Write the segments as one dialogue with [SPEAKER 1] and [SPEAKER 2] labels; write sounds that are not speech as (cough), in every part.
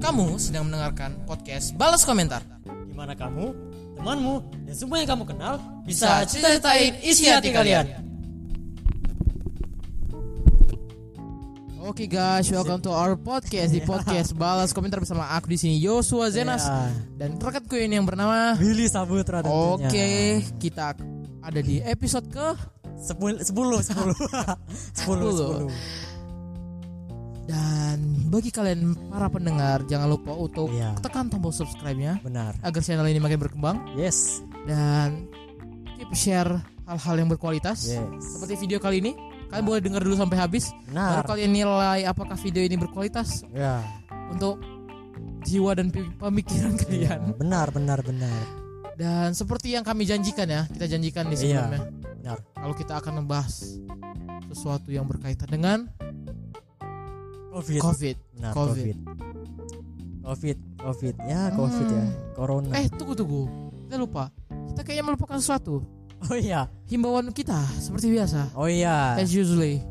[SPEAKER 1] Kamu sedang mendengarkan podcast Balas Komentar.
[SPEAKER 2] di mana kamu, temanmu, dan semua yang kamu kenal
[SPEAKER 1] Bisa ceritain isi hati kalian. Oke guys, welcome to our (laughs) podcast di podcast Balas Komentar bersama aku di sini Yosua Zenas
[SPEAKER 2] Ya.
[SPEAKER 1] dan rekanku ini yang bernama
[SPEAKER 2] Willy
[SPEAKER 1] Iya.
[SPEAKER 2] Sabutra tentunya.
[SPEAKER 1] Oke, kita ada di episode ke
[SPEAKER 2] Sepul- Sepuluh, sepuluh, (laughs) sepuluh,
[SPEAKER 1] Sepuluh.
[SPEAKER 2] sepuluh.
[SPEAKER 1] dan bagi kalian para pendengar jangan lupa untuk
[SPEAKER 2] Iya.
[SPEAKER 1] tekan tombol subscribe-nya
[SPEAKER 2] Benar.
[SPEAKER 1] agar channel ini makin berkembang
[SPEAKER 2] Yes.
[SPEAKER 1] dan keep share hal-hal yang berkualitas.
[SPEAKER 2] Yes.
[SPEAKER 1] Seperti video kali ini, kalian boleh dengar dulu sampai habis baru
[SPEAKER 2] Benar.
[SPEAKER 1] kalian nilai apakah video ini berkualitas
[SPEAKER 2] Ya.
[SPEAKER 1] untuk jiwa dan pi- pemikiran (laughs)
[SPEAKER 2] Iya.
[SPEAKER 1] kalian.
[SPEAKER 2] Benar, benar, benar.
[SPEAKER 1] Dan seperti yang kami janjikan ya, kita janjikan di
[SPEAKER 2] Iya.
[SPEAKER 1] sebelumnya
[SPEAKER 2] Benar.
[SPEAKER 1] kalau kita akan membahas sesuatu yang berkaitan dengan
[SPEAKER 2] Covid.
[SPEAKER 1] COVID.
[SPEAKER 2] Benar,
[SPEAKER 1] Covid.
[SPEAKER 2] Covid. Covid, Covid. Ya, Covid ya.
[SPEAKER 1] Hmm.
[SPEAKER 2] Corona.
[SPEAKER 1] Eh, tunggu tunggu. Kita lupa. Kita kayaknya melupakan sesuatu.
[SPEAKER 2] Oh iya.
[SPEAKER 1] Himbauan kita seperti biasa.
[SPEAKER 2] Oh iya.
[SPEAKER 1] As usually.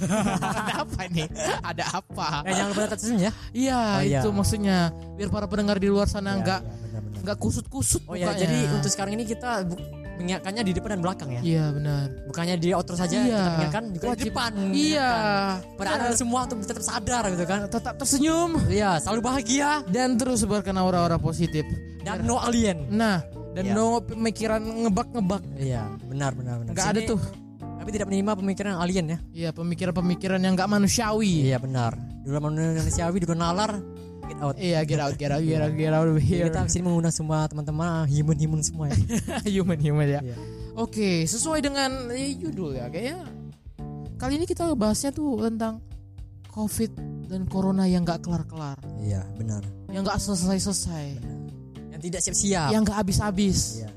[SPEAKER 1] ada (laughs) apa ini? Ada apa?
[SPEAKER 2] Eh, jangan lupa dekat senyum ya.
[SPEAKER 1] Iya,
[SPEAKER 2] Oh, iya.
[SPEAKER 1] itu maksudnya biar para pendengar di luar sana
[SPEAKER 2] Ya,
[SPEAKER 1] nggak
[SPEAKER 2] ya, benar, benar.
[SPEAKER 1] nggak kusut-kusut
[SPEAKER 2] Oh ya,
[SPEAKER 1] mukanya.
[SPEAKER 2] jadi untuk sekarang ini kita bu- mengingatkannya di depan dan belakang ya.
[SPEAKER 1] Iya, benar.
[SPEAKER 2] Bukannya di outdoor saja
[SPEAKER 1] Iya.
[SPEAKER 2] kita mengingatkan juga di depan.
[SPEAKER 1] Iya.
[SPEAKER 2] Pada anda semua untuk tetap sadar gitu kan.
[SPEAKER 1] Eh, Tetap tersenyum
[SPEAKER 2] Iya, selalu bahagia
[SPEAKER 1] dan terus sebarkan aura-aura positif.
[SPEAKER 2] dan no alien.
[SPEAKER 1] Nah, dan
[SPEAKER 2] Iya.
[SPEAKER 1] no pemikiran ngebak-ngebak.
[SPEAKER 2] Iya, benar benar benar.
[SPEAKER 1] Nggak
[SPEAKER 2] Di
[SPEAKER 1] ada
[SPEAKER 2] sini
[SPEAKER 1] tuh.
[SPEAKER 2] Tapi tidak menerima pemikiran alien ya.
[SPEAKER 1] Iya, pemikiran-pemikiran yang nggak manusiawi.
[SPEAKER 2] Iya, benar. Dulu manusia manusiawi dulu nalar get out.
[SPEAKER 1] Iya, get out, get out, get out, get out of
[SPEAKER 2] Jadi
[SPEAKER 1] here.
[SPEAKER 2] Iya, Kita di sini mengundang semua teman-teman himun-himun semua ya.
[SPEAKER 1] (laughs) Iya. human, human ya.
[SPEAKER 2] Iya.
[SPEAKER 1] Oke, sesuai dengan eh, judul ya kayaknya. Kali ini kita bahasnya tuh tentang COVID dan corona yang nggak kelar-kelar,
[SPEAKER 2] Iya, benar.
[SPEAKER 1] yang nggak selesai-selesai,
[SPEAKER 2] Yang tidak siap-siap.
[SPEAKER 1] yang nggak habis-habis,
[SPEAKER 2] Iya.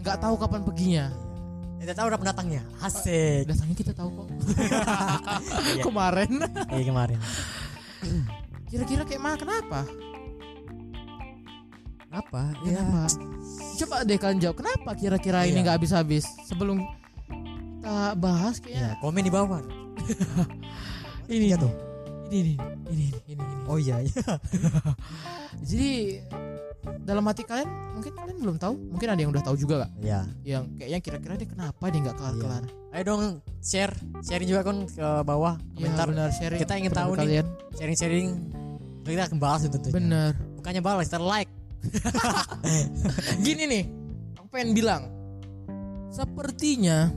[SPEAKER 1] yang nggak tahu kapan perginya.
[SPEAKER 2] Yang Tidak tahu udah pendatangnya.
[SPEAKER 1] (laughs)
[SPEAKER 2] Asik.
[SPEAKER 1] Datangnya kita tahu kok. Kemarin.
[SPEAKER 2] (laughs) Iya kemarin.
[SPEAKER 1] Kira-kira kayak mana? Kenapa?
[SPEAKER 2] Apa? Iya.
[SPEAKER 1] Kenapa? Coba deh kalian jawab. Kenapa kira-kira ini
[SPEAKER 2] Iya.
[SPEAKER 1] nggak habis-habis? Sebelum kita bahas
[SPEAKER 2] Iya,
[SPEAKER 1] kayaknya
[SPEAKER 2] komen di bawah.
[SPEAKER 1] ini,
[SPEAKER 2] Iya tuh.
[SPEAKER 1] ini, ini, ini, ini, ini, ini.
[SPEAKER 2] Oh iya, iya.
[SPEAKER 1] Jadi dalam hati kalian mungkin kalian belum tahu, mungkin ada yang udah tahu juga gak?
[SPEAKER 2] Iya.
[SPEAKER 1] Yang kayaknya kira-kira dia kenapa dia nggak kelar-kelar?
[SPEAKER 2] Ayo dong share, sharing juga kan ke bawah komentar.
[SPEAKER 1] Iya, benar sharing.
[SPEAKER 2] Kita ingin
[SPEAKER 1] pendapat
[SPEAKER 2] tahu nih. Iya.
[SPEAKER 1] kalian.
[SPEAKER 2] Sharing-sharing kita akan bahas itu tentunya.
[SPEAKER 1] Bener.
[SPEAKER 2] Bukannya balas, kita like.
[SPEAKER 1] Gini nih, aku pengen bilang, sepertinya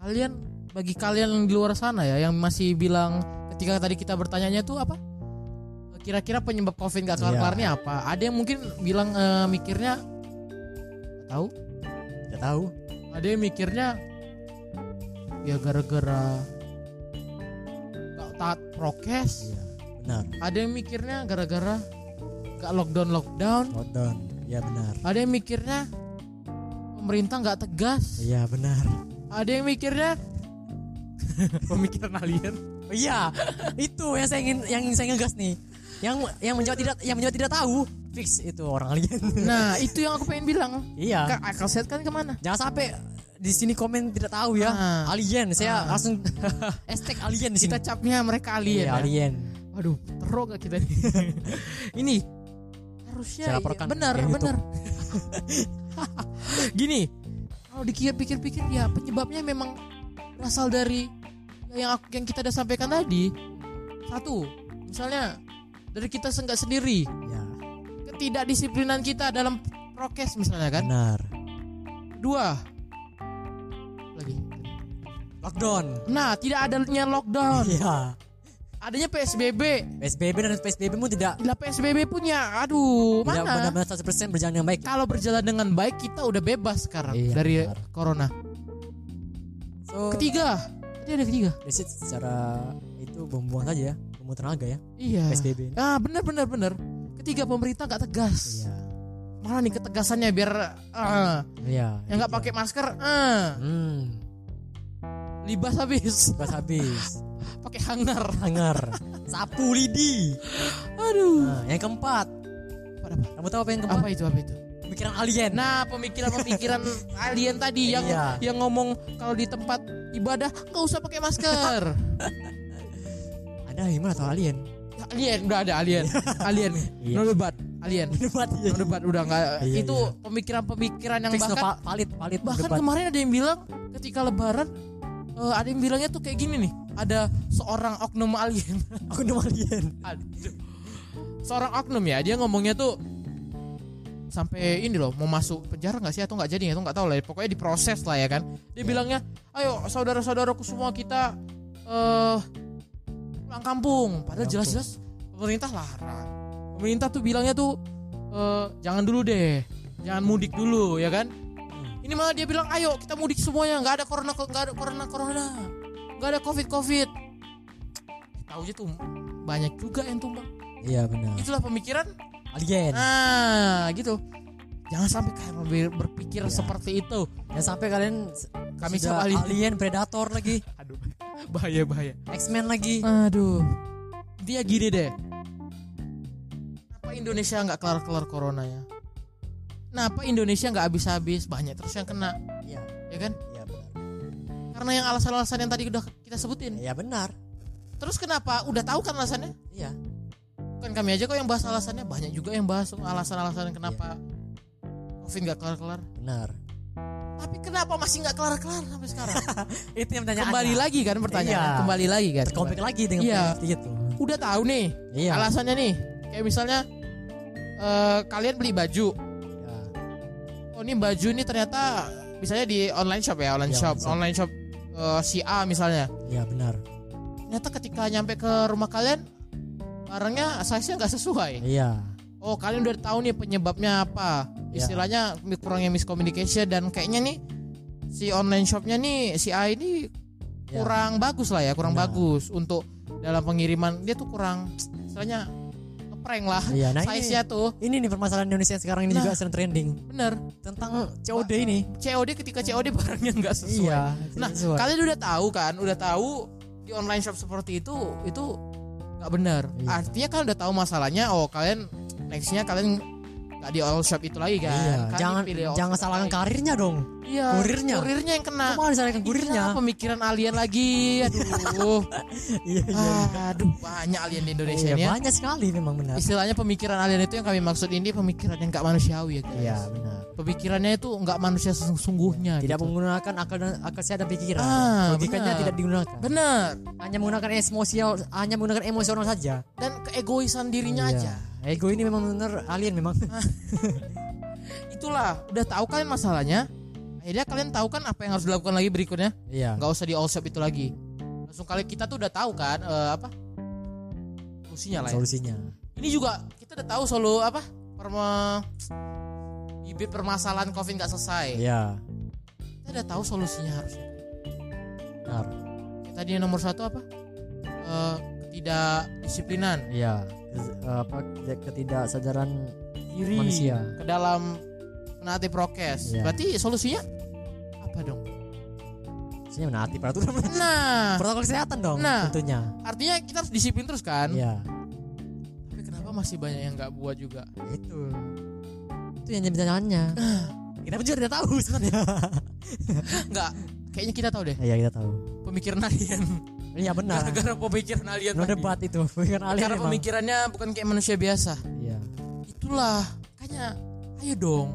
[SPEAKER 1] kalian bagi kalian yang di luar sana ya yang masih bilang ketika tadi kita bertanyanya tuh apa? Kira-kira penyebab COVID nggak kelar-kelar
[SPEAKER 2] Iya.
[SPEAKER 1] ini apa? Ada yang mungkin bilang eh, mikirnya "Nggak tahu
[SPEAKER 2] Gak tahu.
[SPEAKER 1] ada yang mikirnya ya gara-gara gak taat prokes
[SPEAKER 2] Iya, benar.
[SPEAKER 1] ada yang mikirnya gara-gara gak lockdown lockdown
[SPEAKER 2] Lockdown. Iya benar.
[SPEAKER 1] ada yang mikirnya pemerintah nggak tegas
[SPEAKER 2] Iya benar.
[SPEAKER 1] ada yang
[SPEAKER 2] (laughs)
[SPEAKER 1] mikirnya pemikiran alien
[SPEAKER 2] Oh, iya, (laughs) itu yang saya ingin yang ingin saya ngegas nih. Yang yang menjawab tidak yang menjawab tidak tahu, fix itu orang alien. (laughs)
[SPEAKER 1] nah itu yang aku pengen bilang
[SPEAKER 2] iya.
[SPEAKER 1] kak akal sehat kan kemana
[SPEAKER 2] Jangan sampai di sini komen tidak tahu ya.
[SPEAKER 1] Ah.
[SPEAKER 2] Alien,
[SPEAKER 1] Ah.
[SPEAKER 2] saya
[SPEAKER 1] (laughs)
[SPEAKER 2] langsung hashtag alien di sini.
[SPEAKER 1] kita capnya mereka alien,
[SPEAKER 2] Iya,
[SPEAKER 1] ya.
[SPEAKER 2] alien.
[SPEAKER 1] Waduh, teruk gak kita
[SPEAKER 2] (laughs)
[SPEAKER 1] nih? Ini
[SPEAKER 2] Saya
[SPEAKER 1] harusnya iya.
[SPEAKER 2] laporkan
[SPEAKER 1] benar,
[SPEAKER 2] ke
[SPEAKER 1] benar. Gini, kalau dipikir-pikir ya penyebabnya memang berasal dari yang aku, yang kita udah sampaikan tadi. Satu, misalnya dari kita senggak sendiri,
[SPEAKER 2] Iya.
[SPEAKER 1] ketidakdisiplinan kita dalam prokes misalnya kan.
[SPEAKER 2] Benar.
[SPEAKER 1] Dua, lagi.
[SPEAKER 2] Lockdown.
[SPEAKER 1] Nah, tidak adanya lockdown,
[SPEAKER 2] Iya.
[SPEAKER 1] adanya PSBB.
[SPEAKER 2] PSBB dan PSBB mu tidak
[SPEAKER 1] Lah PSBB punya, aduh,
[SPEAKER 2] tidak
[SPEAKER 1] mana?
[SPEAKER 2] Iya, benar-benar 100% berjalan dengan baik.
[SPEAKER 1] kalau berjalan dengan baik kita udah bebas sekarang
[SPEAKER 2] Iya,
[SPEAKER 1] dari
[SPEAKER 2] benar.
[SPEAKER 1] corona.
[SPEAKER 2] So,
[SPEAKER 1] Ketiga, tadi ada ketiga.
[SPEAKER 2] Desit secara itu membuang saja ya, membuang tenaga ya,
[SPEAKER 1] Iya.
[SPEAKER 2] PSBB ini.
[SPEAKER 1] Ah, benar benar benar. Ketiga pemerintah nggak tegas.
[SPEAKER 2] Iya.
[SPEAKER 1] Malah nih ketegasannya biar eh,
[SPEAKER 2] Iya.
[SPEAKER 1] yang nggak
[SPEAKER 2] iya.
[SPEAKER 1] pakai masker eh,
[SPEAKER 2] Hmm,
[SPEAKER 1] libas habis,
[SPEAKER 2] pas habis.
[SPEAKER 1] pakai hanger.
[SPEAKER 2] Hangar. Sapu lidi.
[SPEAKER 1] Aduh.
[SPEAKER 2] Nah, yang keempat.
[SPEAKER 1] Apa, apa?
[SPEAKER 2] Kamu tahu apa yang keempat?
[SPEAKER 1] Apa itu apa itu?
[SPEAKER 2] Pemikiran alien.
[SPEAKER 1] Nah,
[SPEAKER 2] (laughs)
[SPEAKER 1] pemikiran-pemikiran alien tadi yang
[SPEAKER 2] Iya.
[SPEAKER 1] yang ngomong kalau di tempat
[SPEAKER 2] (laughs)
[SPEAKER 1] ibadah nggak usah pakai masker.
[SPEAKER 2] Ada human atau alien? (laughs)
[SPEAKER 1] Ya, alien udah ada alien alien
[SPEAKER 2] Iya.
[SPEAKER 1] no debat alien
[SPEAKER 2] Debat
[SPEAKER 1] no debat udah nggak
[SPEAKER 2] Iya,
[SPEAKER 1] itu
[SPEAKER 2] iya.
[SPEAKER 1] pemikiran-pemikiran yang
[SPEAKER 2] Fix no,
[SPEAKER 1] bahkan
[SPEAKER 2] pa- valid, valid no
[SPEAKER 1] bahkan
[SPEAKER 2] debat.
[SPEAKER 1] kemarin ada yang bilang ketika lebaran eh, ada yang bilangnya tuh kayak gini nih ada seorang oknum alien
[SPEAKER 2] aku udah alien.
[SPEAKER 1] Aduh. seorang oknum ya dia ngomongnya tuh sampai ini loh mau masuk penjara nggak sih atau nggak jadi atau nggak tahu lah pokoknya diproses lah ya kan dia bilangnya ayo saudara-saudaraku semua kita eh pulang kampung padahal
[SPEAKER 2] Pulang
[SPEAKER 1] jelas-jelas pemerintah larang pemerintah tuh bilangnya tuh eh, jangan dulu deh jangan mudik dulu ya kan ini malah dia bilang ayo kita mudik semuanya nggak ada corona nggak ada corona corona nggak ada covid covid tahu aja tuh banyak juga yang tumbang
[SPEAKER 2] Iya benar.
[SPEAKER 1] itulah pemikiran
[SPEAKER 2] Alien.
[SPEAKER 1] nah gitu jangan sampai kalian ber- berpikir
[SPEAKER 2] Iya.
[SPEAKER 1] seperti itu
[SPEAKER 2] Dan sampai kalian s-
[SPEAKER 1] Kami
[SPEAKER 2] sudah
[SPEAKER 1] sama alien.
[SPEAKER 2] predator lagi,
[SPEAKER 1] (laughs) aduh bahaya bahaya
[SPEAKER 2] X-Men lagi.
[SPEAKER 1] aduh dia gini deh kenapa Indonesia nggak kelar kelar coronanya kenapa Indonesia nggak habis habis banyak terus yang kena
[SPEAKER 2] Iya,
[SPEAKER 1] ya kan
[SPEAKER 2] iya benar.
[SPEAKER 1] karena yang alasan-alasan yang tadi udah kita sebutin
[SPEAKER 2] Iya benar.
[SPEAKER 1] terus kenapa udah tahu kan alasannya
[SPEAKER 2] Iya.
[SPEAKER 1] bukan kami aja kok yang bahas alasannya banyak juga yang bahas alasan-alasan kenapa
[SPEAKER 2] Iya.
[SPEAKER 1] Covid nggak kelar kelar
[SPEAKER 2] Benar.
[SPEAKER 1] Tapi kenapa masih nggak kelar-kelar sampai sekarang?
[SPEAKER 2] Itu yang pertanyaan.
[SPEAKER 1] kembali lagi kan pertanyaan,
[SPEAKER 2] Iya.
[SPEAKER 1] kembali lagi kan.
[SPEAKER 2] Terkomplik lagi dengan
[SPEAKER 1] Iya.
[SPEAKER 2] pertanyaan gitu.
[SPEAKER 1] Udah tahu nih
[SPEAKER 2] Iya.
[SPEAKER 1] alasannya nih. Kayak misalnya eh, kalian beli baju.
[SPEAKER 2] Iya.
[SPEAKER 1] Oh ini baju ini ternyata misalnya di online shop ya, online
[SPEAKER 2] Iya,
[SPEAKER 1] shop, online
[SPEAKER 2] online
[SPEAKER 1] shop eh, si A misalnya.
[SPEAKER 2] Iya benar.
[SPEAKER 1] Ternyata ketika nyampe ke rumah kalian barangnya size-nya nggak sesuai.
[SPEAKER 2] Iya.
[SPEAKER 1] Oh kalian udah tahu nih penyebabnya apa
[SPEAKER 2] Iya.
[SPEAKER 1] Istilahnya kurangnya miscommunication Dan kayaknya nih Si online shopnya nih Si A ini
[SPEAKER 2] Iya.
[SPEAKER 1] Kurang bagus lah ya Kurang
[SPEAKER 2] Benar.
[SPEAKER 1] bagus Untuk dalam pengiriman Dia tuh kurang Istilahnya Ngeprank lah
[SPEAKER 2] Iya, nah ini-
[SPEAKER 1] Size-nya tuh
[SPEAKER 2] Ini nih permasalahan Indonesia yang sekarang ini
[SPEAKER 1] Nah.
[SPEAKER 2] juga sedang trending
[SPEAKER 1] Bener
[SPEAKER 2] tentang COD ini.
[SPEAKER 1] COD ketika COD (laughs) barangnya nggak sesuai
[SPEAKER 2] Iya.
[SPEAKER 1] Nah
[SPEAKER 2] sesuai.
[SPEAKER 1] kalian udah tahu kan Udah tahu Di online shop seperti itu Itu nggak benar
[SPEAKER 2] Iya.
[SPEAKER 1] Artinya kan udah tahu masalahnya Oh kalian Nextnya kalian nggak di all shop itu lagi kan
[SPEAKER 2] Iya,
[SPEAKER 1] Kalian
[SPEAKER 2] jangan
[SPEAKER 1] pilih all
[SPEAKER 2] jangan
[SPEAKER 1] shop
[SPEAKER 2] salahkan
[SPEAKER 1] lain.
[SPEAKER 2] karirnya dong.
[SPEAKER 1] Iya,
[SPEAKER 2] Kurirnya.
[SPEAKER 1] Kurirnya yang kena.
[SPEAKER 2] Kamu harus salahkan kurirnya.
[SPEAKER 1] Iya, pemikiran alien
[SPEAKER 2] (laughs)
[SPEAKER 1] lagi. Aduh.
[SPEAKER 2] Iya,
[SPEAKER 1] Nah,
[SPEAKER 2] iya.
[SPEAKER 1] Aduh, banyak alien di Indonesia
[SPEAKER 2] Iya,
[SPEAKER 1] ini. ya.
[SPEAKER 2] banyak sekali memang benar.
[SPEAKER 1] Istilahnya pemikiran alien itu yang kami maksud ini pemikiran yang gak manusiawi ya, guys.
[SPEAKER 2] Iya, benar.
[SPEAKER 1] Pemikirannya itu nggak manusia sesungguhnya.
[SPEAKER 2] Tidak
[SPEAKER 1] gitu.
[SPEAKER 2] menggunakan akal dan akal sehat dan pikiran.
[SPEAKER 1] Ah,
[SPEAKER 2] Logikanya
[SPEAKER 1] benar.
[SPEAKER 2] tidak digunakan.
[SPEAKER 1] Benar.
[SPEAKER 2] Hanya menggunakan emosional, hanya menggunakan emosional saja.
[SPEAKER 1] Dan keegoisan dirinya
[SPEAKER 2] Iya.
[SPEAKER 1] aja.
[SPEAKER 2] Ego ini memang benar alien memang.
[SPEAKER 1] Itulah, udah tahu kalian masalahnya. Akhirnya kalian tahu kan apa yang harus dilakukan lagi berikutnya?
[SPEAKER 2] (laughs) Iya.
[SPEAKER 1] nggak usah di all shop itu lagi. Langsung kali kita tuh udah tahu kan eh, apa? Solusinya lah ya.
[SPEAKER 2] Solusinya.
[SPEAKER 1] ini juga kita udah tahu solo apa perma bibit permasalahan covid nggak selesai
[SPEAKER 2] Iya.
[SPEAKER 1] kita udah tahu solusinya harusnya
[SPEAKER 2] Benar.
[SPEAKER 1] Kayak tadi yang nomor satu apa Eh, ketidakdisiplinan
[SPEAKER 2] Iya. Kes- Apa ketidak- ketidaksadaran
[SPEAKER 1] diri
[SPEAKER 2] Manusia.
[SPEAKER 1] ke dalam menaati prokes
[SPEAKER 2] Iya.
[SPEAKER 1] berarti solusinya apa dong
[SPEAKER 2] Maksudnya menaati peraturan
[SPEAKER 1] nah
[SPEAKER 2] protokol kesehatan dong
[SPEAKER 1] Nah.
[SPEAKER 2] tentunya.
[SPEAKER 1] artinya kita harus disiplin terus kan
[SPEAKER 2] Iya.
[SPEAKER 1] tapi kenapa masih banyak yang nggak buat juga
[SPEAKER 2] Itu. Itu yang jadi pertanyaannya. kita pun Nah. juga tidak tahu sebenarnya.
[SPEAKER 1] Ah, nggak kayaknya kita tahu deh
[SPEAKER 2] (laughs) Iya, kita tahu.
[SPEAKER 1] pemikiran (laughs) alien
[SPEAKER 2] Iya benar.
[SPEAKER 1] gara-gara pemikiran alien
[SPEAKER 2] No
[SPEAKER 1] tadi.
[SPEAKER 2] debat itu. (laughs) Bukan alien
[SPEAKER 1] karena
[SPEAKER 2] memang.
[SPEAKER 1] pemikirannya bukan kayak manusia biasa
[SPEAKER 2] Iya.
[SPEAKER 1] itulah makanya ayo dong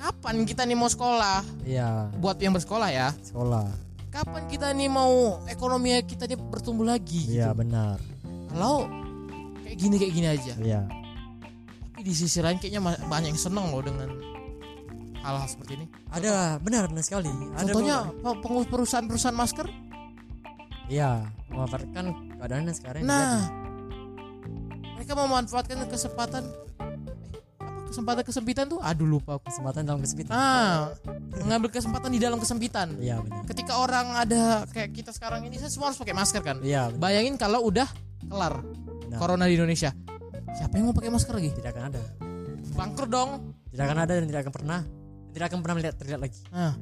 [SPEAKER 1] kapan kita nih mau sekolah
[SPEAKER 2] Iya.
[SPEAKER 1] buat yang bersekolah ya
[SPEAKER 2] Sekolah.
[SPEAKER 1] kapan kita nih mau ekonomi kita nih bertumbuh lagi
[SPEAKER 2] Iya,
[SPEAKER 1] gitu
[SPEAKER 2] benar.
[SPEAKER 1] kalau kayak gini kayak gini aja
[SPEAKER 2] Iya.
[SPEAKER 1] tapi di sisi lain kayaknya ma- banyak yang seneng loh dengan hal-hal seperti ini
[SPEAKER 2] Ada, benar benar sekali. Ada
[SPEAKER 1] contohnya pe- pengu- perusahaan-perusahaan masker
[SPEAKER 2] Iya, memanfaatkan keadaannya sekarang. yang
[SPEAKER 1] nah mereka memanfaatkan kesempatan eh, apa kesempatan kesempitan tuh aduh lupa
[SPEAKER 2] jadi
[SPEAKER 1] aku
[SPEAKER 2] kesempatan dalam kesempitan.
[SPEAKER 1] ah mengambil kesempatan di dalam kesempitan
[SPEAKER 2] Iya, benar.
[SPEAKER 1] ketika orang ada kayak kita sekarang ini saya semua harus pakai masker kan
[SPEAKER 2] Iya, benar.
[SPEAKER 1] bayangin kalau udah kelar
[SPEAKER 2] Nah.
[SPEAKER 1] corona di Indonesia siapa yang mau pakai masker lagi
[SPEAKER 2] Tidak akan ada.
[SPEAKER 1] bangkrut dong
[SPEAKER 2] Tidak akan ada dan tidak akan pernah. Tidak akan pernah melihat terlihat lagi.
[SPEAKER 1] nah,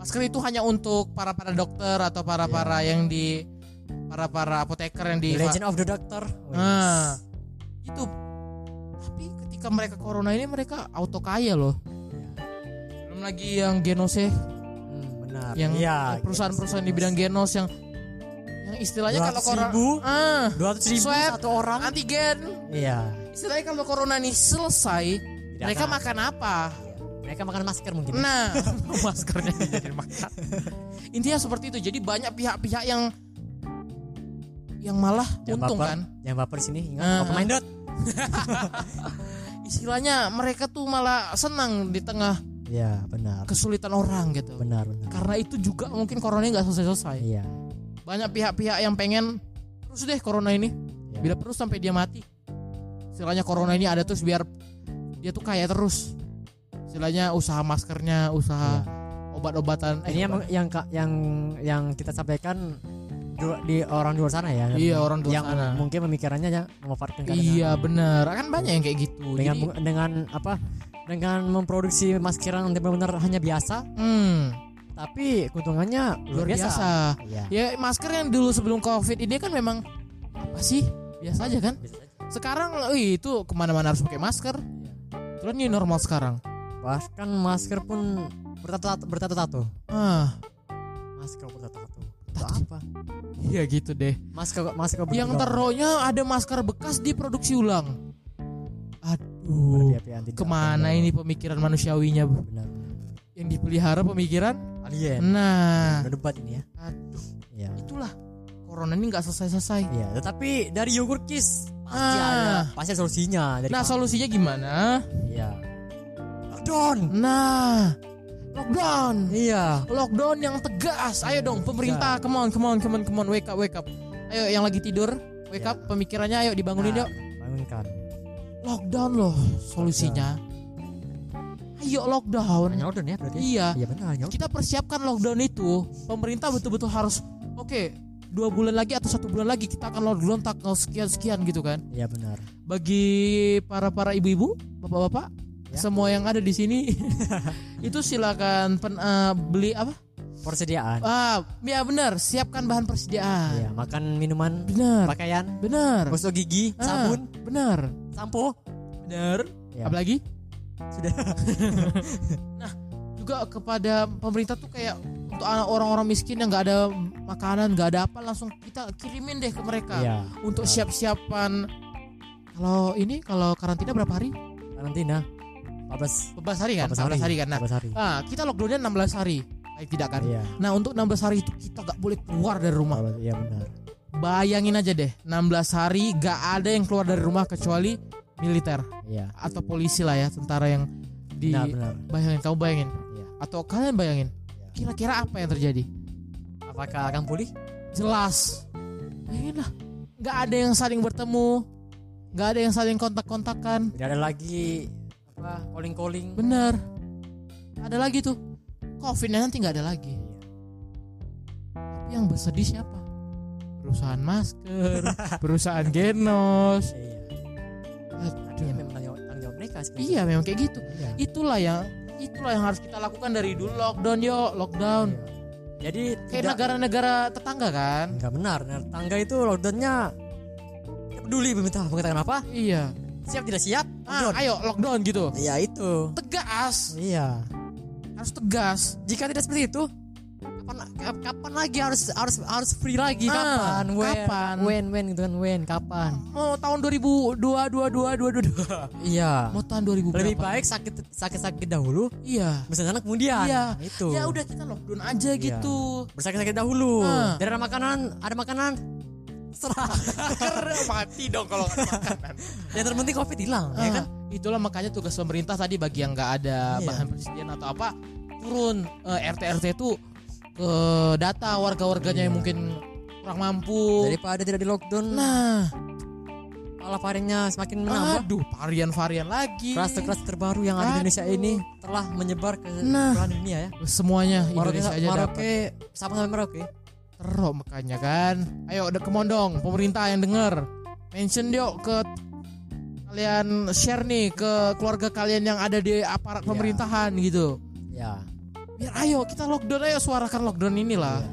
[SPEAKER 1] masker itu hanya untuk para para dokter atau para para yang di para para apoteker yang di
[SPEAKER 2] The Legend of the Doctor. Oh,
[SPEAKER 1] nah
[SPEAKER 2] yes.
[SPEAKER 1] itu tapi ketika mereka corona ini mereka auto kaya loh
[SPEAKER 2] Iya.
[SPEAKER 1] belum lagi yang genose
[SPEAKER 2] Hmm, benar.
[SPEAKER 1] yang eh,
[SPEAKER 2] Iya,
[SPEAKER 1] perusahaan-perusahaan di bidang genos yang yang istilahnya kalau corona
[SPEAKER 2] 200.000,
[SPEAKER 1] ah,
[SPEAKER 2] 200 ribu
[SPEAKER 1] Swab.
[SPEAKER 2] satu orang.
[SPEAKER 1] antigen
[SPEAKER 2] Iya.
[SPEAKER 1] istilahnya kalau corona nih selesai mereka
[SPEAKER 2] akan.
[SPEAKER 1] makan apa
[SPEAKER 2] Mereka makan masker mungkin.
[SPEAKER 1] nah (laughs) maskernya jadi makan intinya seperti itu jadi banyak pihak-pihak yang yang malah untung
[SPEAKER 2] baper,
[SPEAKER 1] kan
[SPEAKER 2] Jangan baper di sini. Ingat,
[SPEAKER 1] Ah.
[SPEAKER 2] open minded.
[SPEAKER 1] istilahnya mereka tuh malah senang di tengah
[SPEAKER 2] Iya, benar.
[SPEAKER 1] kesulitan orang gitu
[SPEAKER 2] Benar, benar.
[SPEAKER 1] karena itu juga mungkin corona nggak selesai-selesai
[SPEAKER 2] Iya.
[SPEAKER 1] banyak pihak-pihak yang pengen terus deh corona ini
[SPEAKER 2] iya.
[SPEAKER 1] bila perlu sampai dia mati istilahnya corona ini ada terus biar dia tuh kaya terus istilahnya usaha maskernya usaha
[SPEAKER 2] Iya.
[SPEAKER 1] obat-obatan eh,
[SPEAKER 2] Ini yang
[SPEAKER 1] obat-
[SPEAKER 2] yang ka- yang yang kita sampaikan du- di orang di luar sana ya.
[SPEAKER 1] iya orang tua
[SPEAKER 2] yang
[SPEAKER 1] sana
[SPEAKER 2] mungkin pemikirannya ya memanfaatkan keadaan.
[SPEAKER 1] iya bener kan banyak yang kayak gitu
[SPEAKER 2] Dengan
[SPEAKER 1] Jadi,
[SPEAKER 2] mu- dengan apa? Dengan memproduksi maskeran yang benar-benar hanya biasa,
[SPEAKER 1] hmm,
[SPEAKER 2] tapi keuntungannya
[SPEAKER 1] luar biasa.
[SPEAKER 2] Iya.
[SPEAKER 1] ya masker yang dulu sebelum covid ini kan memang apa sih biasa aja kan sekarang wih, itu kemana-mana harus pakai masker Itulah ini normal sekarang
[SPEAKER 2] Bahkan masker pun bertato bertato-tato.
[SPEAKER 1] ah
[SPEAKER 2] Masker bertato-tato. Untuk apa?
[SPEAKER 1] iya gitu deh
[SPEAKER 2] Masker masker
[SPEAKER 1] Yang
[SPEAKER 2] bertato-tato.
[SPEAKER 1] teroknya ada masker bekas diproduksi ulang.
[SPEAKER 2] Berarti
[SPEAKER 1] Aduh,
[SPEAKER 2] api yang tidak
[SPEAKER 1] kemana
[SPEAKER 2] benar.
[SPEAKER 1] ini pemikiran manusiawinya Bu?
[SPEAKER 2] Benar.
[SPEAKER 1] yang dipelihara pemikiran?
[SPEAKER 2] Alien.
[SPEAKER 1] Nah,
[SPEAKER 2] Berdebat ini ya.
[SPEAKER 1] aduh,
[SPEAKER 2] Iya.
[SPEAKER 1] itulah corona ini nggak selesai-selesai.
[SPEAKER 2] Iya, tetapi dari yogurt kiss pasti
[SPEAKER 1] Ah.
[SPEAKER 2] ada pasti ada solusinya dari
[SPEAKER 1] Nah, solusinya gimana?
[SPEAKER 2] Iya. Lockdown.
[SPEAKER 1] Nah, lockdown.
[SPEAKER 2] Iya.
[SPEAKER 1] Lockdown yang tegas. Ayo dong pemerintah, come on, come on, come on, come on, wake up, wake up. Ayo yang lagi tidur, wake
[SPEAKER 2] Ya.
[SPEAKER 1] up pemikirannya ayo dibangunin
[SPEAKER 2] Nah,
[SPEAKER 1] yuk.
[SPEAKER 2] Bangunkan.
[SPEAKER 1] Lockdown loh solusinya. Ayo
[SPEAKER 2] Hanya
[SPEAKER 1] lockdown.
[SPEAKER 2] lockdown ya berarti.
[SPEAKER 1] Iya.
[SPEAKER 2] Iya benar hanya lockdown.
[SPEAKER 1] kita persiapkan lockdown itu pemerintah betul-betul harus oke dua bulan lagi atau satu bulan lagi kita akan lockdown tanggal sekian sekian gitu kan
[SPEAKER 2] Iya benar.
[SPEAKER 1] bagi para para ibu-ibu bapak-bapak
[SPEAKER 2] Ya.
[SPEAKER 1] semua yang ada di sini
[SPEAKER 2] (laughs)
[SPEAKER 1] itu silakan pen- eh, beli apa
[SPEAKER 2] Persediaan.
[SPEAKER 1] ah ya benar siapkan bahan
[SPEAKER 2] Iya,
[SPEAKER 1] persediaan
[SPEAKER 2] makan minuman,
[SPEAKER 1] benar
[SPEAKER 2] pakaian,
[SPEAKER 1] benar
[SPEAKER 2] gosok gigi,
[SPEAKER 1] Ah,
[SPEAKER 2] sabun,
[SPEAKER 1] benar
[SPEAKER 2] sampo.
[SPEAKER 1] benar
[SPEAKER 2] Ya.
[SPEAKER 1] apalagi (laughs) Nah,
[SPEAKER 2] Sudah.
[SPEAKER 1] juga kepada pemerintah tuh kayak untuk anak- orang-orang miskin yang nggak ada makanan nggak ada apa langsung kita kirimin deh ke mereka
[SPEAKER 2] Iya.
[SPEAKER 1] untuk
[SPEAKER 2] Benar.
[SPEAKER 1] siap-siapan kalau ini kalau karantina berapa hari?
[SPEAKER 2] Karantina. 14
[SPEAKER 1] 14 hari kan?
[SPEAKER 2] 14
[SPEAKER 1] 14 hari kan. Nah,
[SPEAKER 2] 14 hari.
[SPEAKER 1] ah, kita lockdownnya 16 hari. Baik tidak kan?
[SPEAKER 2] Iya.
[SPEAKER 1] Nah, untuk 16 hari itu kita nggak boleh keluar dari rumah.
[SPEAKER 2] Iya benar.
[SPEAKER 1] Bayangin aja deh, 16 hari nggak ada yang keluar dari rumah kecuali militer
[SPEAKER 2] Iya.
[SPEAKER 1] atau polisi lah ya, tentara yang di
[SPEAKER 2] Benar benar.
[SPEAKER 1] bayangin kamu bayangin
[SPEAKER 2] Iya.
[SPEAKER 1] atau kalian bayangin
[SPEAKER 2] Iya.
[SPEAKER 1] kira-kira apa yang terjadi?
[SPEAKER 2] Apakah akan pulih?
[SPEAKER 1] Jelas. Bayangin lah, nggak ada yang saling bertemu, nggak ada yang saling kontak-kontakan.
[SPEAKER 2] Tidak ada lagi apa calling-calling.
[SPEAKER 1] Bener. Ada lagi tuh. Covidnya nanti nggak ada lagi.
[SPEAKER 2] Iya.
[SPEAKER 1] Tapi yang bersedih siapa? Perusahaan
[SPEAKER 2] (laughs)
[SPEAKER 1] masker, perusahaan genos.
[SPEAKER 2] Iya. Iya
[SPEAKER 1] Aduh.
[SPEAKER 2] memang tanggung jawab- tanggung jawab mereka sebenarnya.
[SPEAKER 1] Iya memang kayak gitu.
[SPEAKER 2] Iya.
[SPEAKER 1] Itulah yang itulah yang harus kita lakukan dari dulu lockdown yuk lockdown.
[SPEAKER 2] Iya. Jadi
[SPEAKER 1] Kayak
[SPEAKER 2] tidak-
[SPEAKER 1] negara-negara tetangga kan?
[SPEAKER 2] Enggak benar. Nah, tangga itu lockdownnya tidak peduli pemerintah mengatakan apa?
[SPEAKER 1] Iya.
[SPEAKER 2] Siap tidak siap?
[SPEAKER 1] Ah,
[SPEAKER 2] Lockdown.
[SPEAKER 1] ayo lockdown gitu.
[SPEAKER 2] Iya itu.
[SPEAKER 1] Tegas,
[SPEAKER 2] Iya.
[SPEAKER 1] harus tegas.
[SPEAKER 2] Jika tidak seperti itu, kapan kap- kapan lagi harus harus harus free lagi?
[SPEAKER 1] Ah,
[SPEAKER 2] Kapan? when?
[SPEAKER 1] kapan?
[SPEAKER 2] When when gitu kan when? Kapan?
[SPEAKER 1] Mau tahun 2022
[SPEAKER 2] Iya.
[SPEAKER 1] mau tahun 2000
[SPEAKER 2] Lebih
[SPEAKER 1] berapa?
[SPEAKER 2] baik sakit sakit sakit dahulu,
[SPEAKER 1] Iya.
[SPEAKER 2] bersana kemudian.
[SPEAKER 1] Iya.
[SPEAKER 2] Itu.
[SPEAKER 1] Ya udah kita lockdown aja
[SPEAKER 2] Iya.
[SPEAKER 1] gitu.
[SPEAKER 2] Bersakit-sakit dahulu.
[SPEAKER 1] Ah.
[SPEAKER 2] Dari ada makanan, ada makanan. Serah.
[SPEAKER 1] Keren mati dong kalau nggak ada makanan.
[SPEAKER 2] Yang terpenting covid hilang,
[SPEAKER 1] Ah.
[SPEAKER 2] ya kan?
[SPEAKER 1] Itulah makanya tugas pemerintah tadi bagi yang nggak ada
[SPEAKER 2] Iya.
[SPEAKER 1] bahan persediaan atau apa turun Eh, RT RT itu ke data warga-warganya yang
[SPEAKER 2] Iya.
[SPEAKER 1] mungkin kurang mampu.
[SPEAKER 2] Daripada tidak di lockdown,
[SPEAKER 1] nah,
[SPEAKER 2] malah variannya semakin menambah.
[SPEAKER 1] aduh varian-varian lagi.
[SPEAKER 2] Kelas-kelas terbaru yang ada di Indonesia
[SPEAKER 1] Aduh.
[SPEAKER 2] ini telah menyebar ke
[SPEAKER 1] Nah.
[SPEAKER 2] belahan dunia ya.
[SPEAKER 1] Semuanya
[SPEAKER 2] Maroke,
[SPEAKER 1] Indonesia aja
[SPEAKER 2] Maroke
[SPEAKER 1] dapat
[SPEAKER 2] sama sama Maroke.
[SPEAKER 1] terok makanya kan. Ayo udah kemondong pemerintah yang denger. Mention yuk ke kalian share nih ke keluarga kalian yang ada di aparat
[SPEAKER 2] Iya.
[SPEAKER 1] pemerintahan gitu.
[SPEAKER 2] Ya.
[SPEAKER 1] biar ayo kita lockdown ayo suarakan lockdown inilah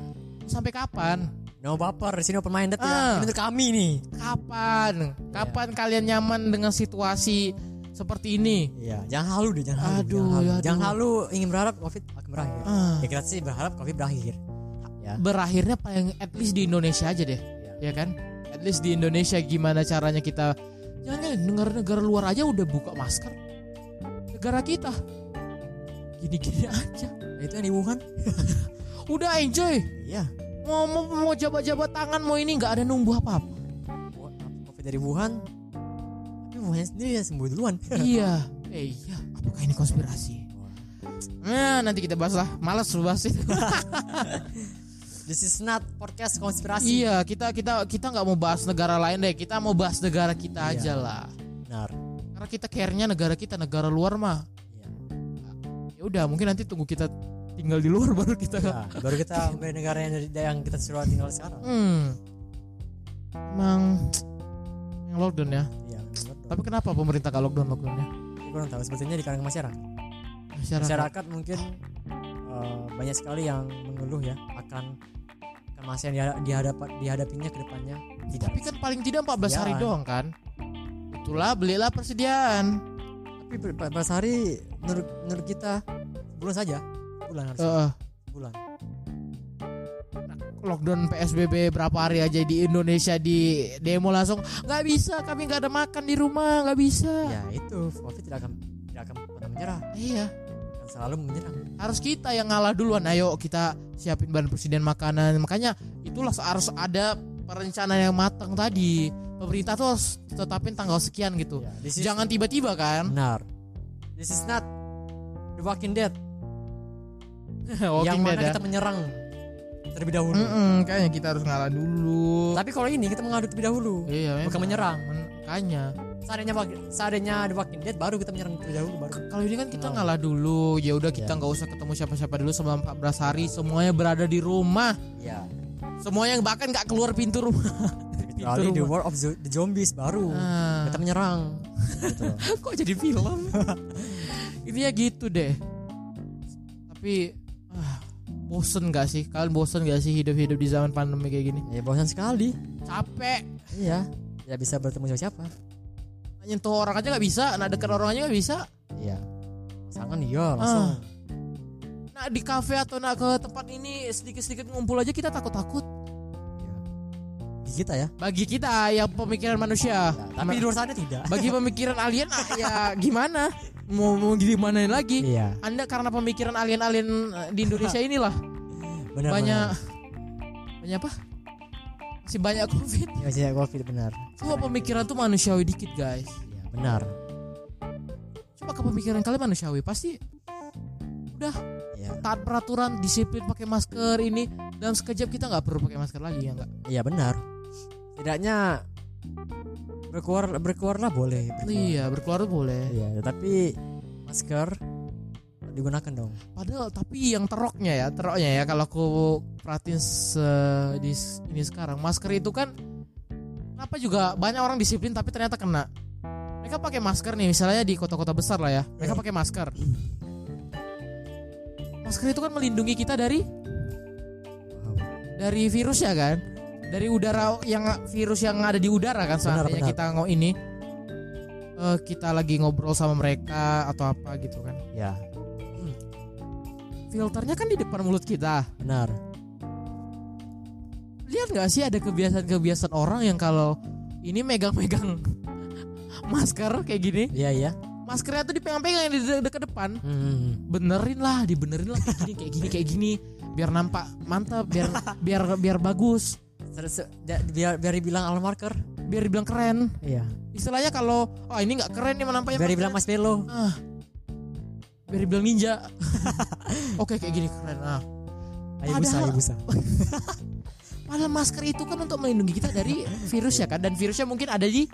[SPEAKER 1] sampai kapan
[SPEAKER 2] No baper, Ah. di sini open minded
[SPEAKER 1] Ah.
[SPEAKER 2] ya. Ini untuk kami nih.
[SPEAKER 1] kapan kapan kalian nyaman dengan situasi seperti ini
[SPEAKER 2] Iya, jangan halu deh, jangan halu.
[SPEAKER 1] Aduh,
[SPEAKER 2] jangan, halu.
[SPEAKER 1] aduh.
[SPEAKER 2] jangan halu ingin berharap Covid akan berakhir.
[SPEAKER 1] Ah.
[SPEAKER 2] Ya kita sih berharap Covid berakhir. Ya.
[SPEAKER 1] berakhirnya paling at least di Indonesia aja deh ya
[SPEAKER 2] Ya.
[SPEAKER 1] kan at least di Indonesia gimana caranya kita jangan kan negara-negara luar aja udah buka masker negara kita gini-gini aja
[SPEAKER 2] Nah, itu yang di Wuhan.
[SPEAKER 1] udah enjoy
[SPEAKER 2] Iya.
[SPEAKER 1] mau mau, mau jabat-jabat tangan mau ini nggak ada nunggu apa-apa
[SPEAKER 2] Wo- Covid dari Wuhan. Tapi Wuhan sendiri yang sembuh duluan. (laughs)
[SPEAKER 1] iya eh iya apakah ini konspirasi nah nanti kita bahas lah malas lu bahas itu
[SPEAKER 2] This is not podcast konspirasi.
[SPEAKER 1] iya kita kita kita nggak mau bahas negara lain deh kita mau bahas negara kita
[SPEAKER 2] Iya.
[SPEAKER 1] aja lah
[SPEAKER 2] Benar.
[SPEAKER 1] karena kita care-nya negara kita negara luar mah
[SPEAKER 2] Iya.
[SPEAKER 1] ya udah mungkin nanti tunggu kita tinggal di luar (laughs) baru kita
[SPEAKER 2] Nah, baru kita dari negara yang dari yang kita suruh tinggal sekarang.
[SPEAKER 1] Hmm. Emang yang lockdown ya.
[SPEAKER 2] Iya. benar.
[SPEAKER 1] Tapi kenapa pemerintah gak lockdown lockdownnya?
[SPEAKER 2] Tapi kurang tahu sebetulnya di kalangan masyarakat.
[SPEAKER 1] Masyarakat.
[SPEAKER 2] Masyarakat mungkin eh, banyak sekali yang mengeluh ya akan akan masa yang dihadap, dihadap- dihadapinya ke depannya tidak.
[SPEAKER 1] Tapi kan paling tidak 14 hari
[SPEAKER 2] Iya.
[SPEAKER 1] doang kan? Itulah belilah persediaan.
[SPEAKER 2] Tapi per- per- per hari menurut, menurut kita bulan saja bulan harus
[SPEAKER 1] Heeh.
[SPEAKER 2] bulan.
[SPEAKER 1] lockdown PSBB berapa hari aja di Indonesia di demo langsung nggak bisa kami nggak ada makan di rumah nggak bisa
[SPEAKER 2] Ya itu Covid tidak akan tidak akan pernah menyerah
[SPEAKER 1] iya
[SPEAKER 2] akan selalu menyerang.
[SPEAKER 1] harus kita yang ngalah duluan ayo kita siapin bahan presiden makanan makanya itulah harus ada perencanaan yang matang tadi pemerintah tuh harus tetapin tanggal sekian gitu
[SPEAKER 2] Ya, this is-
[SPEAKER 1] jangan tiba-tiba
[SPEAKER 2] (laughs)
[SPEAKER 1] kan
[SPEAKER 2] benar. This is not The Walking Dead yang
[SPEAKER 1] Walking
[SPEAKER 2] mana
[SPEAKER 1] Dead ya.
[SPEAKER 2] kita menyerang terlebih dahulu.
[SPEAKER 1] Mm-mm, kayaknya kita harus ngalah dulu
[SPEAKER 2] Tapi kalau ini kita mengadu terlebih dahulu.
[SPEAKER 1] iya
[SPEAKER 2] Bukan
[SPEAKER 1] memang.
[SPEAKER 2] menyerang.
[SPEAKER 1] Men- Makanya
[SPEAKER 2] Seandainya Walk- seandainya The Walking Dead baru kita menyerang terlebih dahulu baru.
[SPEAKER 1] kalau ini kan kita
[SPEAKER 2] Ngalah.
[SPEAKER 1] ngalah dulu ya udah kita
[SPEAKER 2] Iya.
[SPEAKER 1] nggak usah ketemu siapa-siapa dulu selama 14 hari semuanya berada di rumah
[SPEAKER 2] Iya.
[SPEAKER 1] semuanya bahkan nggak keluar pintu rumah
[SPEAKER 2] Kecuali The War of Zo- the Zombies baru
[SPEAKER 1] Ah.
[SPEAKER 2] kita menyerang. Gitu loh.
[SPEAKER 1] kok jadi film (laughs) intinya gitu deh tapi ah, bosen gak sih kalian bosen gak sih hidup-hidup di zaman pandemi kayak gini
[SPEAKER 2] ya bosan sekali.
[SPEAKER 1] capek
[SPEAKER 2] Iya. Tidak bisa bertemu siapa siapa.
[SPEAKER 1] nyentuh orang aja nggak bisa nah deket orang aja nggak bisa
[SPEAKER 2] Iya. Pasangan iya langsung.
[SPEAKER 1] Ah. nah di kafe atau nah ke tempat ini sedikit-sedikit ngumpul aja kita takut-takut
[SPEAKER 2] Iya. Di kita ya.
[SPEAKER 1] bagi kita yang pemikiran manusia
[SPEAKER 2] Ya, tapi di luar sana tidak.
[SPEAKER 1] bagi pemikiran alien ah, ya gimana mau mau gimanain lagi
[SPEAKER 2] Iya.
[SPEAKER 1] anda karena pemikiran alien-alien eh, di Indonesia inilah
[SPEAKER 2] Benar.
[SPEAKER 1] banyak banyak apa masih banyak covid
[SPEAKER 2] Benar. Ya, saya covid benar.
[SPEAKER 1] coba pemikiran tuh manusiawi dikit guys
[SPEAKER 2] Iya, benar.
[SPEAKER 1] coba ke pemikiran kalian manusiawi pasti udah
[SPEAKER 2] Iya.
[SPEAKER 1] taat peraturan disiplin pakai masker ini dan sekejap kita nggak perlu pakai masker lagi ya nggak
[SPEAKER 2] Iya, benar. Tidaknya berkeluar berkeluarlah boleh. berkeluar.
[SPEAKER 1] iya berkeluar tuh boleh
[SPEAKER 2] Iya, tapi masker digunakan dong.
[SPEAKER 1] padahal tapi yang teroknya ya teroknya ya kalau aku perhatiin se- di s- ini sekarang masker itu kan kenapa juga banyak orang disiplin tapi ternyata kena mereka pakai masker nih misalnya di kota-kota besar lah ya
[SPEAKER 2] Eh.
[SPEAKER 1] mereka pakai masker masker itu kan melindungi kita dari dari virus ya kan dari udara yang virus yang ada di udara kan seandainya
[SPEAKER 2] benar.
[SPEAKER 1] kita ngomong ini eh, kita lagi ngobrol sama mereka atau apa gitu kan
[SPEAKER 2] Ya,
[SPEAKER 1] filternya kan di depan mulut kita
[SPEAKER 2] benar.
[SPEAKER 1] lihat nggak sih ada kebiasaan-kebiasaan orang yang kalau ini megang-megang (laughs) masker kayak gini
[SPEAKER 2] Iya, iya.
[SPEAKER 1] maskernya tuh dipegang-pegang yang di de- dekat depan
[SPEAKER 2] Hmm.
[SPEAKER 1] benerin lah dibenerin lah kayak gini kayak gini kayak gini biar nampak mantap biar biar biar bagus
[SPEAKER 2] Ser- se- da- biar biar dibilang alarm marker.
[SPEAKER 1] biar dibilang keren
[SPEAKER 2] Iya.
[SPEAKER 1] istilahnya kalau oh ini nggak keren nih menampaknya
[SPEAKER 2] Biar dibilang Mas Melo.
[SPEAKER 1] ah, biar dibilang ninja (laughs) oke kayak gini keren ah
[SPEAKER 2] Ayo busa,
[SPEAKER 1] Padahal-
[SPEAKER 2] ayo busa.
[SPEAKER 1] Padahal masker itu kan untuk melindungi kita dari virus ya kan dan virusnya mungkin ada di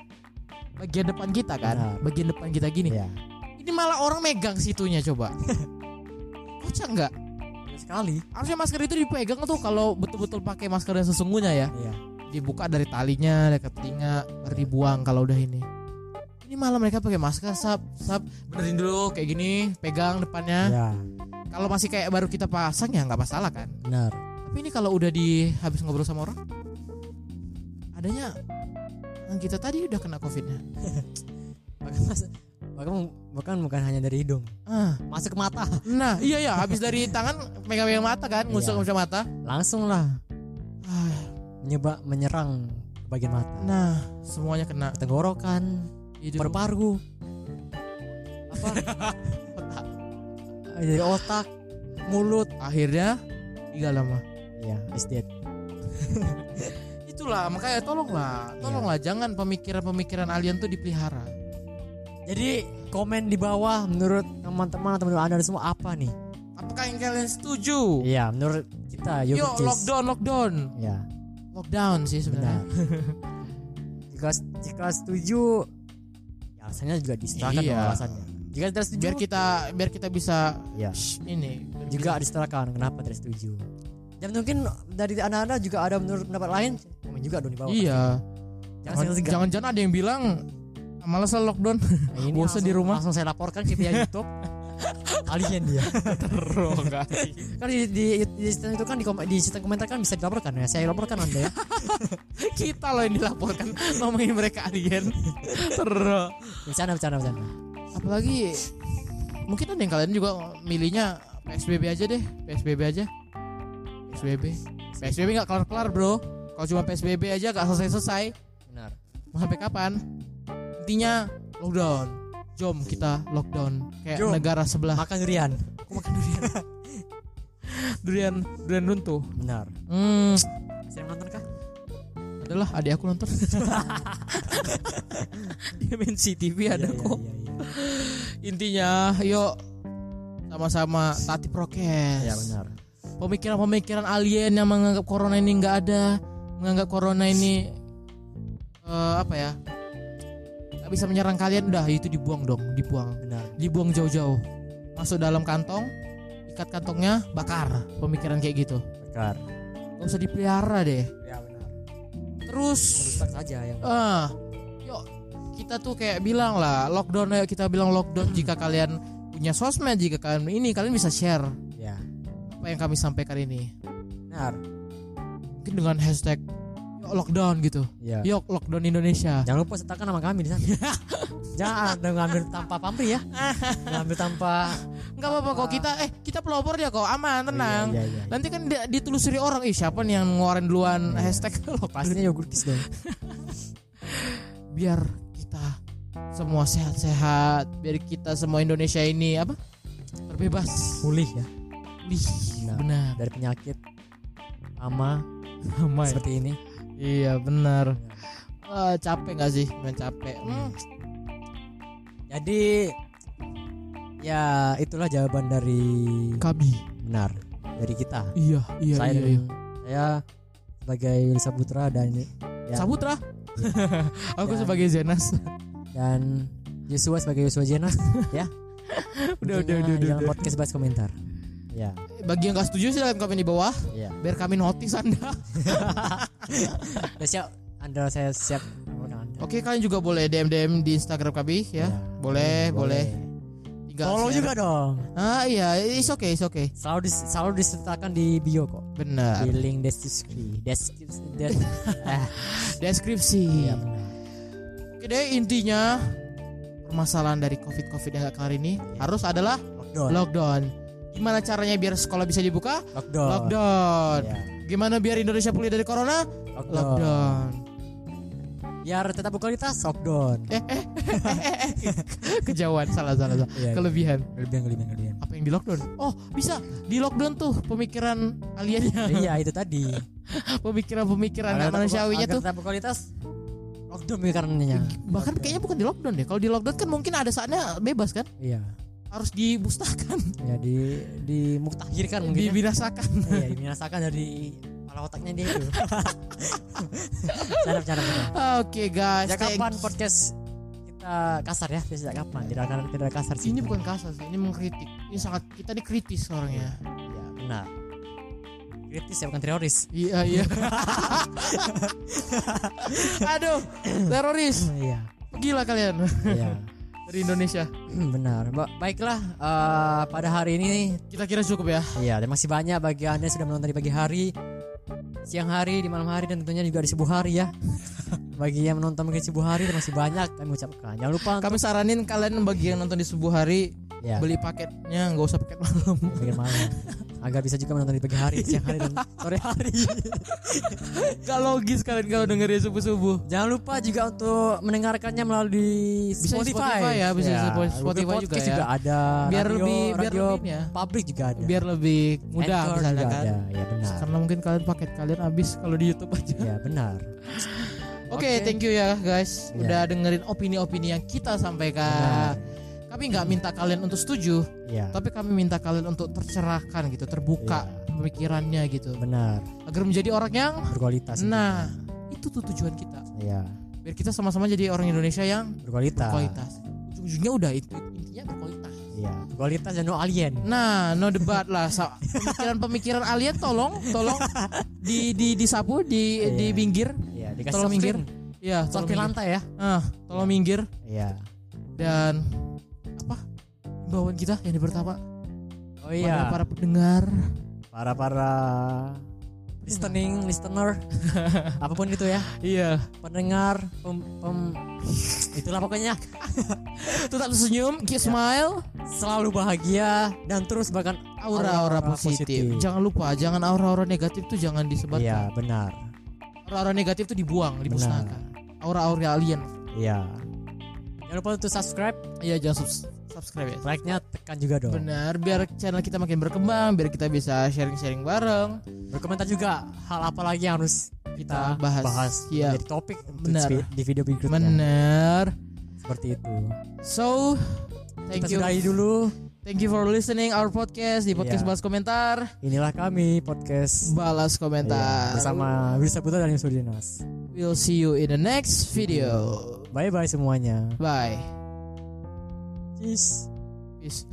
[SPEAKER 1] bagian depan kita kan,
[SPEAKER 2] Benar.
[SPEAKER 1] bagian depan kita gini.
[SPEAKER 2] Iya.
[SPEAKER 1] Ini malah orang megang situnya coba. Kocak nggak?
[SPEAKER 2] Sekali.
[SPEAKER 1] Harusnya masker itu dipegang tuh kalau betul-betul pakai masker yang sesungguhnya ya.
[SPEAKER 2] Iya.
[SPEAKER 1] Dibuka dari talinya, dari telinga, baru dibuang kalau udah ini. Ini malah mereka pakai masker sap sap benerin dulu kayak gini, pegang depannya.
[SPEAKER 2] Iya,
[SPEAKER 1] Kalau masih kayak baru kita pasang ya nggak masalah kan.
[SPEAKER 2] benar.
[SPEAKER 1] Tapi ini kalau udah di habis ngobrol sama orang, "Ah, adanya yang kita tadi udah kena covidnya.
[SPEAKER 2] Maka mas- bahkan bahkan bukan hanya dari hidung
[SPEAKER 1] Ah,
[SPEAKER 2] masuk ke mata (laughs)
[SPEAKER 1] nah iya ya habis dari tangan megang-megang mata kan ngusap ngusap mata
[SPEAKER 2] langsung lah
[SPEAKER 1] Ah,
[SPEAKER 2] menyebab menyerang ke bagian mata
[SPEAKER 1] nah semuanya kena
[SPEAKER 2] ke tenggorokan
[SPEAKER 1] Hidup.
[SPEAKER 2] paru-paru (laughs) apa Eh, dari otak mulut
[SPEAKER 1] akhirnya tiga lama
[SPEAKER 2] ya is dead
[SPEAKER 1] itulah makanya tolonglah
[SPEAKER 2] Iya.
[SPEAKER 1] tolonglah jangan pemikiran-pemikiran alien tuh dipelihara
[SPEAKER 2] jadi komen di bawah menurut teman-teman atau menurut anda semua apa nih
[SPEAKER 1] apakah yang kalian setuju
[SPEAKER 2] Iya, menurut kita
[SPEAKER 1] Yuk
[SPEAKER 2] Yogurt Cheese.
[SPEAKER 1] lockdown lockdown
[SPEAKER 2] Ya,
[SPEAKER 1] lockdown sih
[SPEAKER 2] benar.
[SPEAKER 1] sebenarnya
[SPEAKER 2] jika jika setuju, ya alasannya juga diserahkan
[SPEAKER 1] Iya.
[SPEAKER 2] dong alasannya. Jika tidak setuju,
[SPEAKER 1] biar kita biar kita bisa
[SPEAKER 2] ya
[SPEAKER 1] shh, ini biar
[SPEAKER 2] juga diserahkan kenapa tidak setuju. Dan mungkin dari anda-anda juga ada menurut pendapat lain, komen juga dong di bawah.
[SPEAKER 1] Iya.
[SPEAKER 2] Jangan segan-segan.
[SPEAKER 1] Jangan jangan ada yang bilang "Ah, Males lah lockdown. (laughs)
[SPEAKER 2] Nah, ini
[SPEAKER 1] bosan di
[SPEAKER 2] langsung- (laughs)
[SPEAKER 1] rumah.
[SPEAKER 2] Langsung saya laporkan ke pihak YouTube. Alien dia. (laughs) Kan di, di, di sistem itu kan di, kom- di sistem komentar kan bisa dilaporkan ya. Saya laporkan anda ya.
[SPEAKER 1] Kita loh yang dilaporkan ngomongin mereka alien. Terus
[SPEAKER 2] Bercanda bercanda bercanda.
[SPEAKER 1] apalagi mungkin ada yang kalian juga milihnya PSBB aja deh, PSBB aja. PSBB. PSBB nggak kelar-kelar, Bro. Kalau cuma PSBB aja nggak selesai-selesai,
[SPEAKER 2] Benar.
[SPEAKER 1] mau sampai kapan? Intinya lockdown. Jom kita lockdown kayak
[SPEAKER 2] Jom.
[SPEAKER 1] negara sebelah.
[SPEAKER 2] Makan durian.
[SPEAKER 1] Aku makan durian. durian durian runtuh.
[SPEAKER 2] Benar.
[SPEAKER 1] Hmm,
[SPEAKER 2] Saya nonton kah?
[SPEAKER 1] adalah adik aku nonton (laughs) dia main CTV ada
[SPEAKER 2] Iya, iya,
[SPEAKER 1] kok
[SPEAKER 2] iya, iya.
[SPEAKER 1] intinya yuk sama-sama taati prokes
[SPEAKER 2] Ya benar.
[SPEAKER 1] pemikiran-pemikiran alien yang menganggap corona ini nggak ada menganggap corona ini eh, apa ya nggak bisa menyerang kalian udah itu dibuang dong dibuang
[SPEAKER 2] Benar.
[SPEAKER 1] dibuang jauh-jauh masuk dalam kantong ikat kantongnya bakar pemikiran kayak gitu
[SPEAKER 2] Bakar.
[SPEAKER 1] nggak usah dipelihara deh
[SPEAKER 2] Ya benar.
[SPEAKER 1] terus
[SPEAKER 2] Merusak saja yang
[SPEAKER 1] Ah, yuk kita tuh kayak bilang lah lockdown ayo kita bilang lockdown jika kalian punya sosmed jika kalian ini kalian bisa share
[SPEAKER 2] ya.
[SPEAKER 1] apa yang kami sampaikan ini
[SPEAKER 2] Benar.
[SPEAKER 1] mungkin dengan hashtag yuk lockdown gitu
[SPEAKER 2] Ya.
[SPEAKER 1] yuk lockdown Indonesia
[SPEAKER 2] Jangan lupa sertakan nama kami
[SPEAKER 1] (laughs)
[SPEAKER 2] di sana. Jangan ada ngambil tanpa pamri ya. Ngambil tanpa
[SPEAKER 1] nggak apa-apa kok kita eh kita pelopor ya kok aman tenang
[SPEAKER 2] Iya, iya, iya.
[SPEAKER 1] nanti kan di- ditelusuri orang ih siapa nih yang ngeluarin duluan hashtag (laughs) lockdown
[SPEAKER 2] Pastinya yogurt kiss dong.
[SPEAKER 1] biar kita semua sehat-sehat biar kita semua Indonesia ini apa terbebas
[SPEAKER 2] Pulih ya
[SPEAKER 1] Wih,
[SPEAKER 2] Benar.
[SPEAKER 1] benar
[SPEAKER 2] dari penyakit ama
[SPEAKER 1] ramai
[SPEAKER 2] seperti ini.
[SPEAKER 1] Iya benar. Eh, capek nggak sih? Main capek. Hmm.
[SPEAKER 2] Jadi ya itulah jawaban dari
[SPEAKER 1] Kabi.
[SPEAKER 2] benar dari kita.
[SPEAKER 1] Iya iya
[SPEAKER 2] saya
[SPEAKER 1] iya. iya.
[SPEAKER 2] dan- saya sebagai Wilsa Putra dan ya,
[SPEAKER 1] Saputra. (laughs) Aku
[SPEAKER 2] Ya.
[SPEAKER 1] sebagai Zenas.
[SPEAKER 2] dan Joshua sebagai Joshua
[SPEAKER 1] (laughs)
[SPEAKER 2] Jenas ya.
[SPEAKER 1] Udah, udah, udah,
[SPEAKER 2] Intinya
[SPEAKER 1] udah,
[SPEAKER 2] Jangan
[SPEAKER 1] udah. Iya,
[SPEAKER 2] podcast bahas komentar. Ya,
[SPEAKER 1] Bagi yang nggak setuju silahkan komen di bawah.
[SPEAKER 2] ya.
[SPEAKER 1] Biar kami notice anda.
[SPEAKER 2] Udah siap. Anda saya siap. mengundang Anda.
[SPEAKER 1] Oke kalian juga boleh DM DM di Instagram kami ya.
[SPEAKER 2] Ya,
[SPEAKER 1] Boleh boleh. Tinggal
[SPEAKER 2] Follow
[SPEAKER 1] share.
[SPEAKER 2] juga dong.
[SPEAKER 1] Ah iya it's okay it's okay.
[SPEAKER 2] Selalu dis, selalu disertakan di bio kok. Di
[SPEAKER 1] Benar.
[SPEAKER 2] link deskripsi. Deskripsi.
[SPEAKER 1] (laughs)
[SPEAKER 2] Des,
[SPEAKER 1] Iya,
[SPEAKER 2] eh,
[SPEAKER 1] Deskripsi.
[SPEAKER 2] iya benar.
[SPEAKER 1] Oke deh intinya permasalahan dari covid covid yang gak kelar ini harus adalah
[SPEAKER 2] Iya. Lockdown.
[SPEAKER 1] lockdown. Gimana caranya biar sekolah bisa dibuka?
[SPEAKER 2] Lockdown.
[SPEAKER 1] Lockdown.
[SPEAKER 2] Ya,
[SPEAKER 1] Gimana biar Indonesia pulih dari corona?
[SPEAKER 2] lockdown.
[SPEAKER 1] Lockdown.
[SPEAKER 2] Biar tetap kualitas
[SPEAKER 1] Eh,
[SPEAKER 2] lockdown.
[SPEAKER 1] (laughs) Kejauhan salah salah. salah.
[SPEAKER 2] Iya, iya.
[SPEAKER 1] Kelebihan.
[SPEAKER 2] Kelebihan kelebihan
[SPEAKER 1] (laughs)
[SPEAKER 2] kelebihan.
[SPEAKER 1] Apa yang di lockdown? Oh, bisa. Di lockdown tuh pemikiran aliennya, (laughs)
[SPEAKER 2] iya itu tadi.
[SPEAKER 1] pemikiran-pemikiran
[SPEAKER 2] Agar
[SPEAKER 1] nggak
[SPEAKER 2] tetap-
[SPEAKER 1] manusiawinya
[SPEAKER 2] agar
[SPEAKER 1] tuh.
[SPEAKER 2] tetap kualitas lockdown pemikirannya.
[SPEAKER 1] Bahkan kayaknya bukan di lockdown deh. Kalau di lockdown kan mungkin ada saatnya bebas kan?
[SPEAKER 2] Iya.
[SPEAKER 1] Harus dibustahkan,
[SPEAKER 2] Ya di dimuktahirkan mungkin. ya.
[SPEAKER 1] (laughs) dibinasakan.
[SPEAKER 2] iya dibinasakan dari kepala otaknya dia
[SPEAKER 1] (laughs)
[SPEAKER 2] itu cara cara cara
[SPEAKER 1] Ah, Oke guys.
[SPEAKER 2] sejak
[SPEAKER 1] thank-
[SPEAKER 2] kapan podcast kita kasar ya sejak kapan tidak akan tidak kasar sih
[SPEAKER 1] Ini bukan kasar sih, ini mengkritik. Ini sangat kita dikritis orangnya.
[SPEAKER 2] ya benar kritis ya bukan teroris
[SPEAKER 1] Iya (laughs) iya. Aduh, teroris.
[SPEAKER 2] iya
[SPEAKER 1] Gila kalian
[SPEAKER 2] iya Hmm,
[SPEAKER 1] dari Indonesia.
[SPEAKER 2] benar Ba- baiklah eh, pada hari ini
[SPEAKER 1] Kita kira cukup ya.
[SPEAKER 2] Iya, dan masih banyak bagi
[SPEAKER 1] (laughs)
[SPEAKER 2] Anda yang sudah menonton di pagi hari, siang hari, di malam hari dan tentunya juga di subuh hari ya. Bagi yang menonton mungkin sebuah hari masih banyak kami ucapkan. Jangan lupa untuk-
[SPEAKER 1] Kami saranin kalian bagi yang nonton di subuh hari
[SPEAKER 2] ya,
[SPEAKER 1] beli paketnya nggak usah paket (laughs) malam.
[SPEAKER 2] pikir malam. Agar bisa juga menonton di pagi hari, siang hari
[SPEAKER 1] Iya.
[SPEAKER 2] dan sore hari.
[SPEAKER 1] Gak logis kalian kalau dengerin subuh subuh.
[SPEAKER 2] Jangan lupa juga untuk mendengarkannya melalui
[SPEAKER 1] Bisa di
[SPEAKER 2] Spotify. Iya,
[SPEAKER 1] Spotify ya, bisa di Spotify
[SPEAKER 2] Google
[SPEAKER 1] juga
[SPEAKER 2] Podcast
[SPEAKER 1] ya.
[SPEAKER 2] ada.
[SPEAKER 1] Biar
[SPEAKER 2] radio,
[SPEAKER 1] lebih biar
[SPEAKER 2] radio
[SPEAKER 1] lebih ini ya.
[SPEAKER 2] publik juga ada.
[SPEAKER 1] Biar lebih mudah
[SPEAKER 2] Anchor
[SPEAKER 1] misalnya
[SPEAKER 2] juga
[SPEAKER 1] kan.
[SPEAKER 2] ada. Ya benar.
[SPEAKER 1] Karena mungkin kalian paket kalian habis kalau di YouTube aja.
[SPEAKER 2] Ya benar.
[SPEAKER 1] Oke,
[SPEAKER 2] Oke.
[SPEAKER 1] thank you ya guys.
[SPEAKER 2] Iya.
[SPEAKER 1] Udah dengerin opini-opini yang kita
[SPEAKER 2] Benar.
[SPEAKER 1] sampaikan. Kami nggak minta kalian untuk setuju,
[SPEAKER 2] Ya.
[SPEAKER 1] tapi kami minta kalian untuk tercerahkan gitu, terbuka
[SPEAKER 2] Iya.
[SPEAKER 1] pemikirannya gitu,
[SPEAKER 2] Benar.
[SPEAKER 1] agar menjadi orang yang
[SPEAKER 2] Berkualitas.
[SPEAKER 1] nah itu tuh tujuan kita.
[SPEAKER 2] Ya.
[SPEAKER 1] Biar kita sama-sama jadi orang Indonesia yang
[SPEAKER 2] Berkualitas.
[SPEAKER 1] berkualitas. Ujung-ujungnya udah itu intinya berkualitas.
[SPEAKER 2] Iya. Berkualitas dan no alien.
[SPEAKER 1] Nah, no debat lah. Sa- Pemikiran-pemikiran alien tolong, tolong di di disapu, di
[SPEAKER 2] Iya.
[SPEAKER 1] di pinggir.
[SPEAKER 2] Iya.
[SPEAKER 1] Tolong
[SPEAKER 2] Dikasih
[SPEAKER 1] minggir.
[SPEAKER 2] minggir.
[SPEAKER 1] Ya, tolong
[SPEAKER 2] Sokin
[SPEAKER 1] minggir.
[SPEAKER 2] lantai ya.
[SPEAKER 1] Ah, tolong minggir
[SPEAKER 2] Iya.
[SPEAKER 1] dan apa? Himbauan kita yang pertama
[SPEAKER 2] Oh iya.
[SPEAKER 1] para pendengar
[SPEAKER 2] Para para listening
[SPEAKER 1] (laughs)
[SPEAKER 2] listener apapun itu ya
[SPEAKER 1] iya
[SPEAKER 2] pendengar pem, pem- itulah pokoknya
[SPEAKER 1] tetap senyum
[SPEAKER 2] Iya.
[SPEAKER 1] keep smile
[SPEAKER 2] selalu bahagia dan terus bahkan
[SPEAKER 1] aura-aura positif. jangan lupa jangan aura-aura negatif tuh jangan disebarkan
[SPEAKER 2] Iya benar.
[SPEAKER 1] aura-aura negatif tuh dibuang dimusnahkan aura-aura alien
[SPEAKER 2] Iya. Jangan lupa untuk subscribe,
[SPEAKER 1] iya jangan subs- subscribe ya
[SPEAKER 2] like-nya tekan juga dong.
[SPEAKER 1] benar biar channel kita makin berkembang biar kita bisa sharing-sharing bareng
[SPEAKER 2] Berkomentar juga hal apa lagi yang harus kita
[SPEAKER 1] Kita bahas.
[SPEAKER 2] bahas,
[SPEAKER 1] Iya.
[SPEAKER 2] menjadi ya. topik untuk
[SPEAKER 1] Benar.
[SPEAKER 2] spe- di video berikutnya.
[SPEAKER 1] benar
[SPEAKER 2] Seperti itu.
[SPEAKER 1] so thank
[SPEAKER 2] Kita
[SPEAKER 1] you
[SPEAKER 2] sudahi dulu.
[SPEAKER 1] thank you for listening our podcast di podcast
[SPEAKER 2] Iya.
[SPEAKER 1] balas komentar
[SPEAKER 2] Inilah kami podcast
[SPEAKER 1] balas
[SPEAKER 2] Iya,
[SPEAKER 1] komentar
[SPEAKER 2] bersama Wirsa Putra dan Yusuf Dinas.
[SPEAKER 1] we'll see you in the next video
[SPEAKER 2] Bye bye semuanya.
[SPEAKER 1] bye
[SPEAKER 2] Peace.
[SPEAKER 1] peace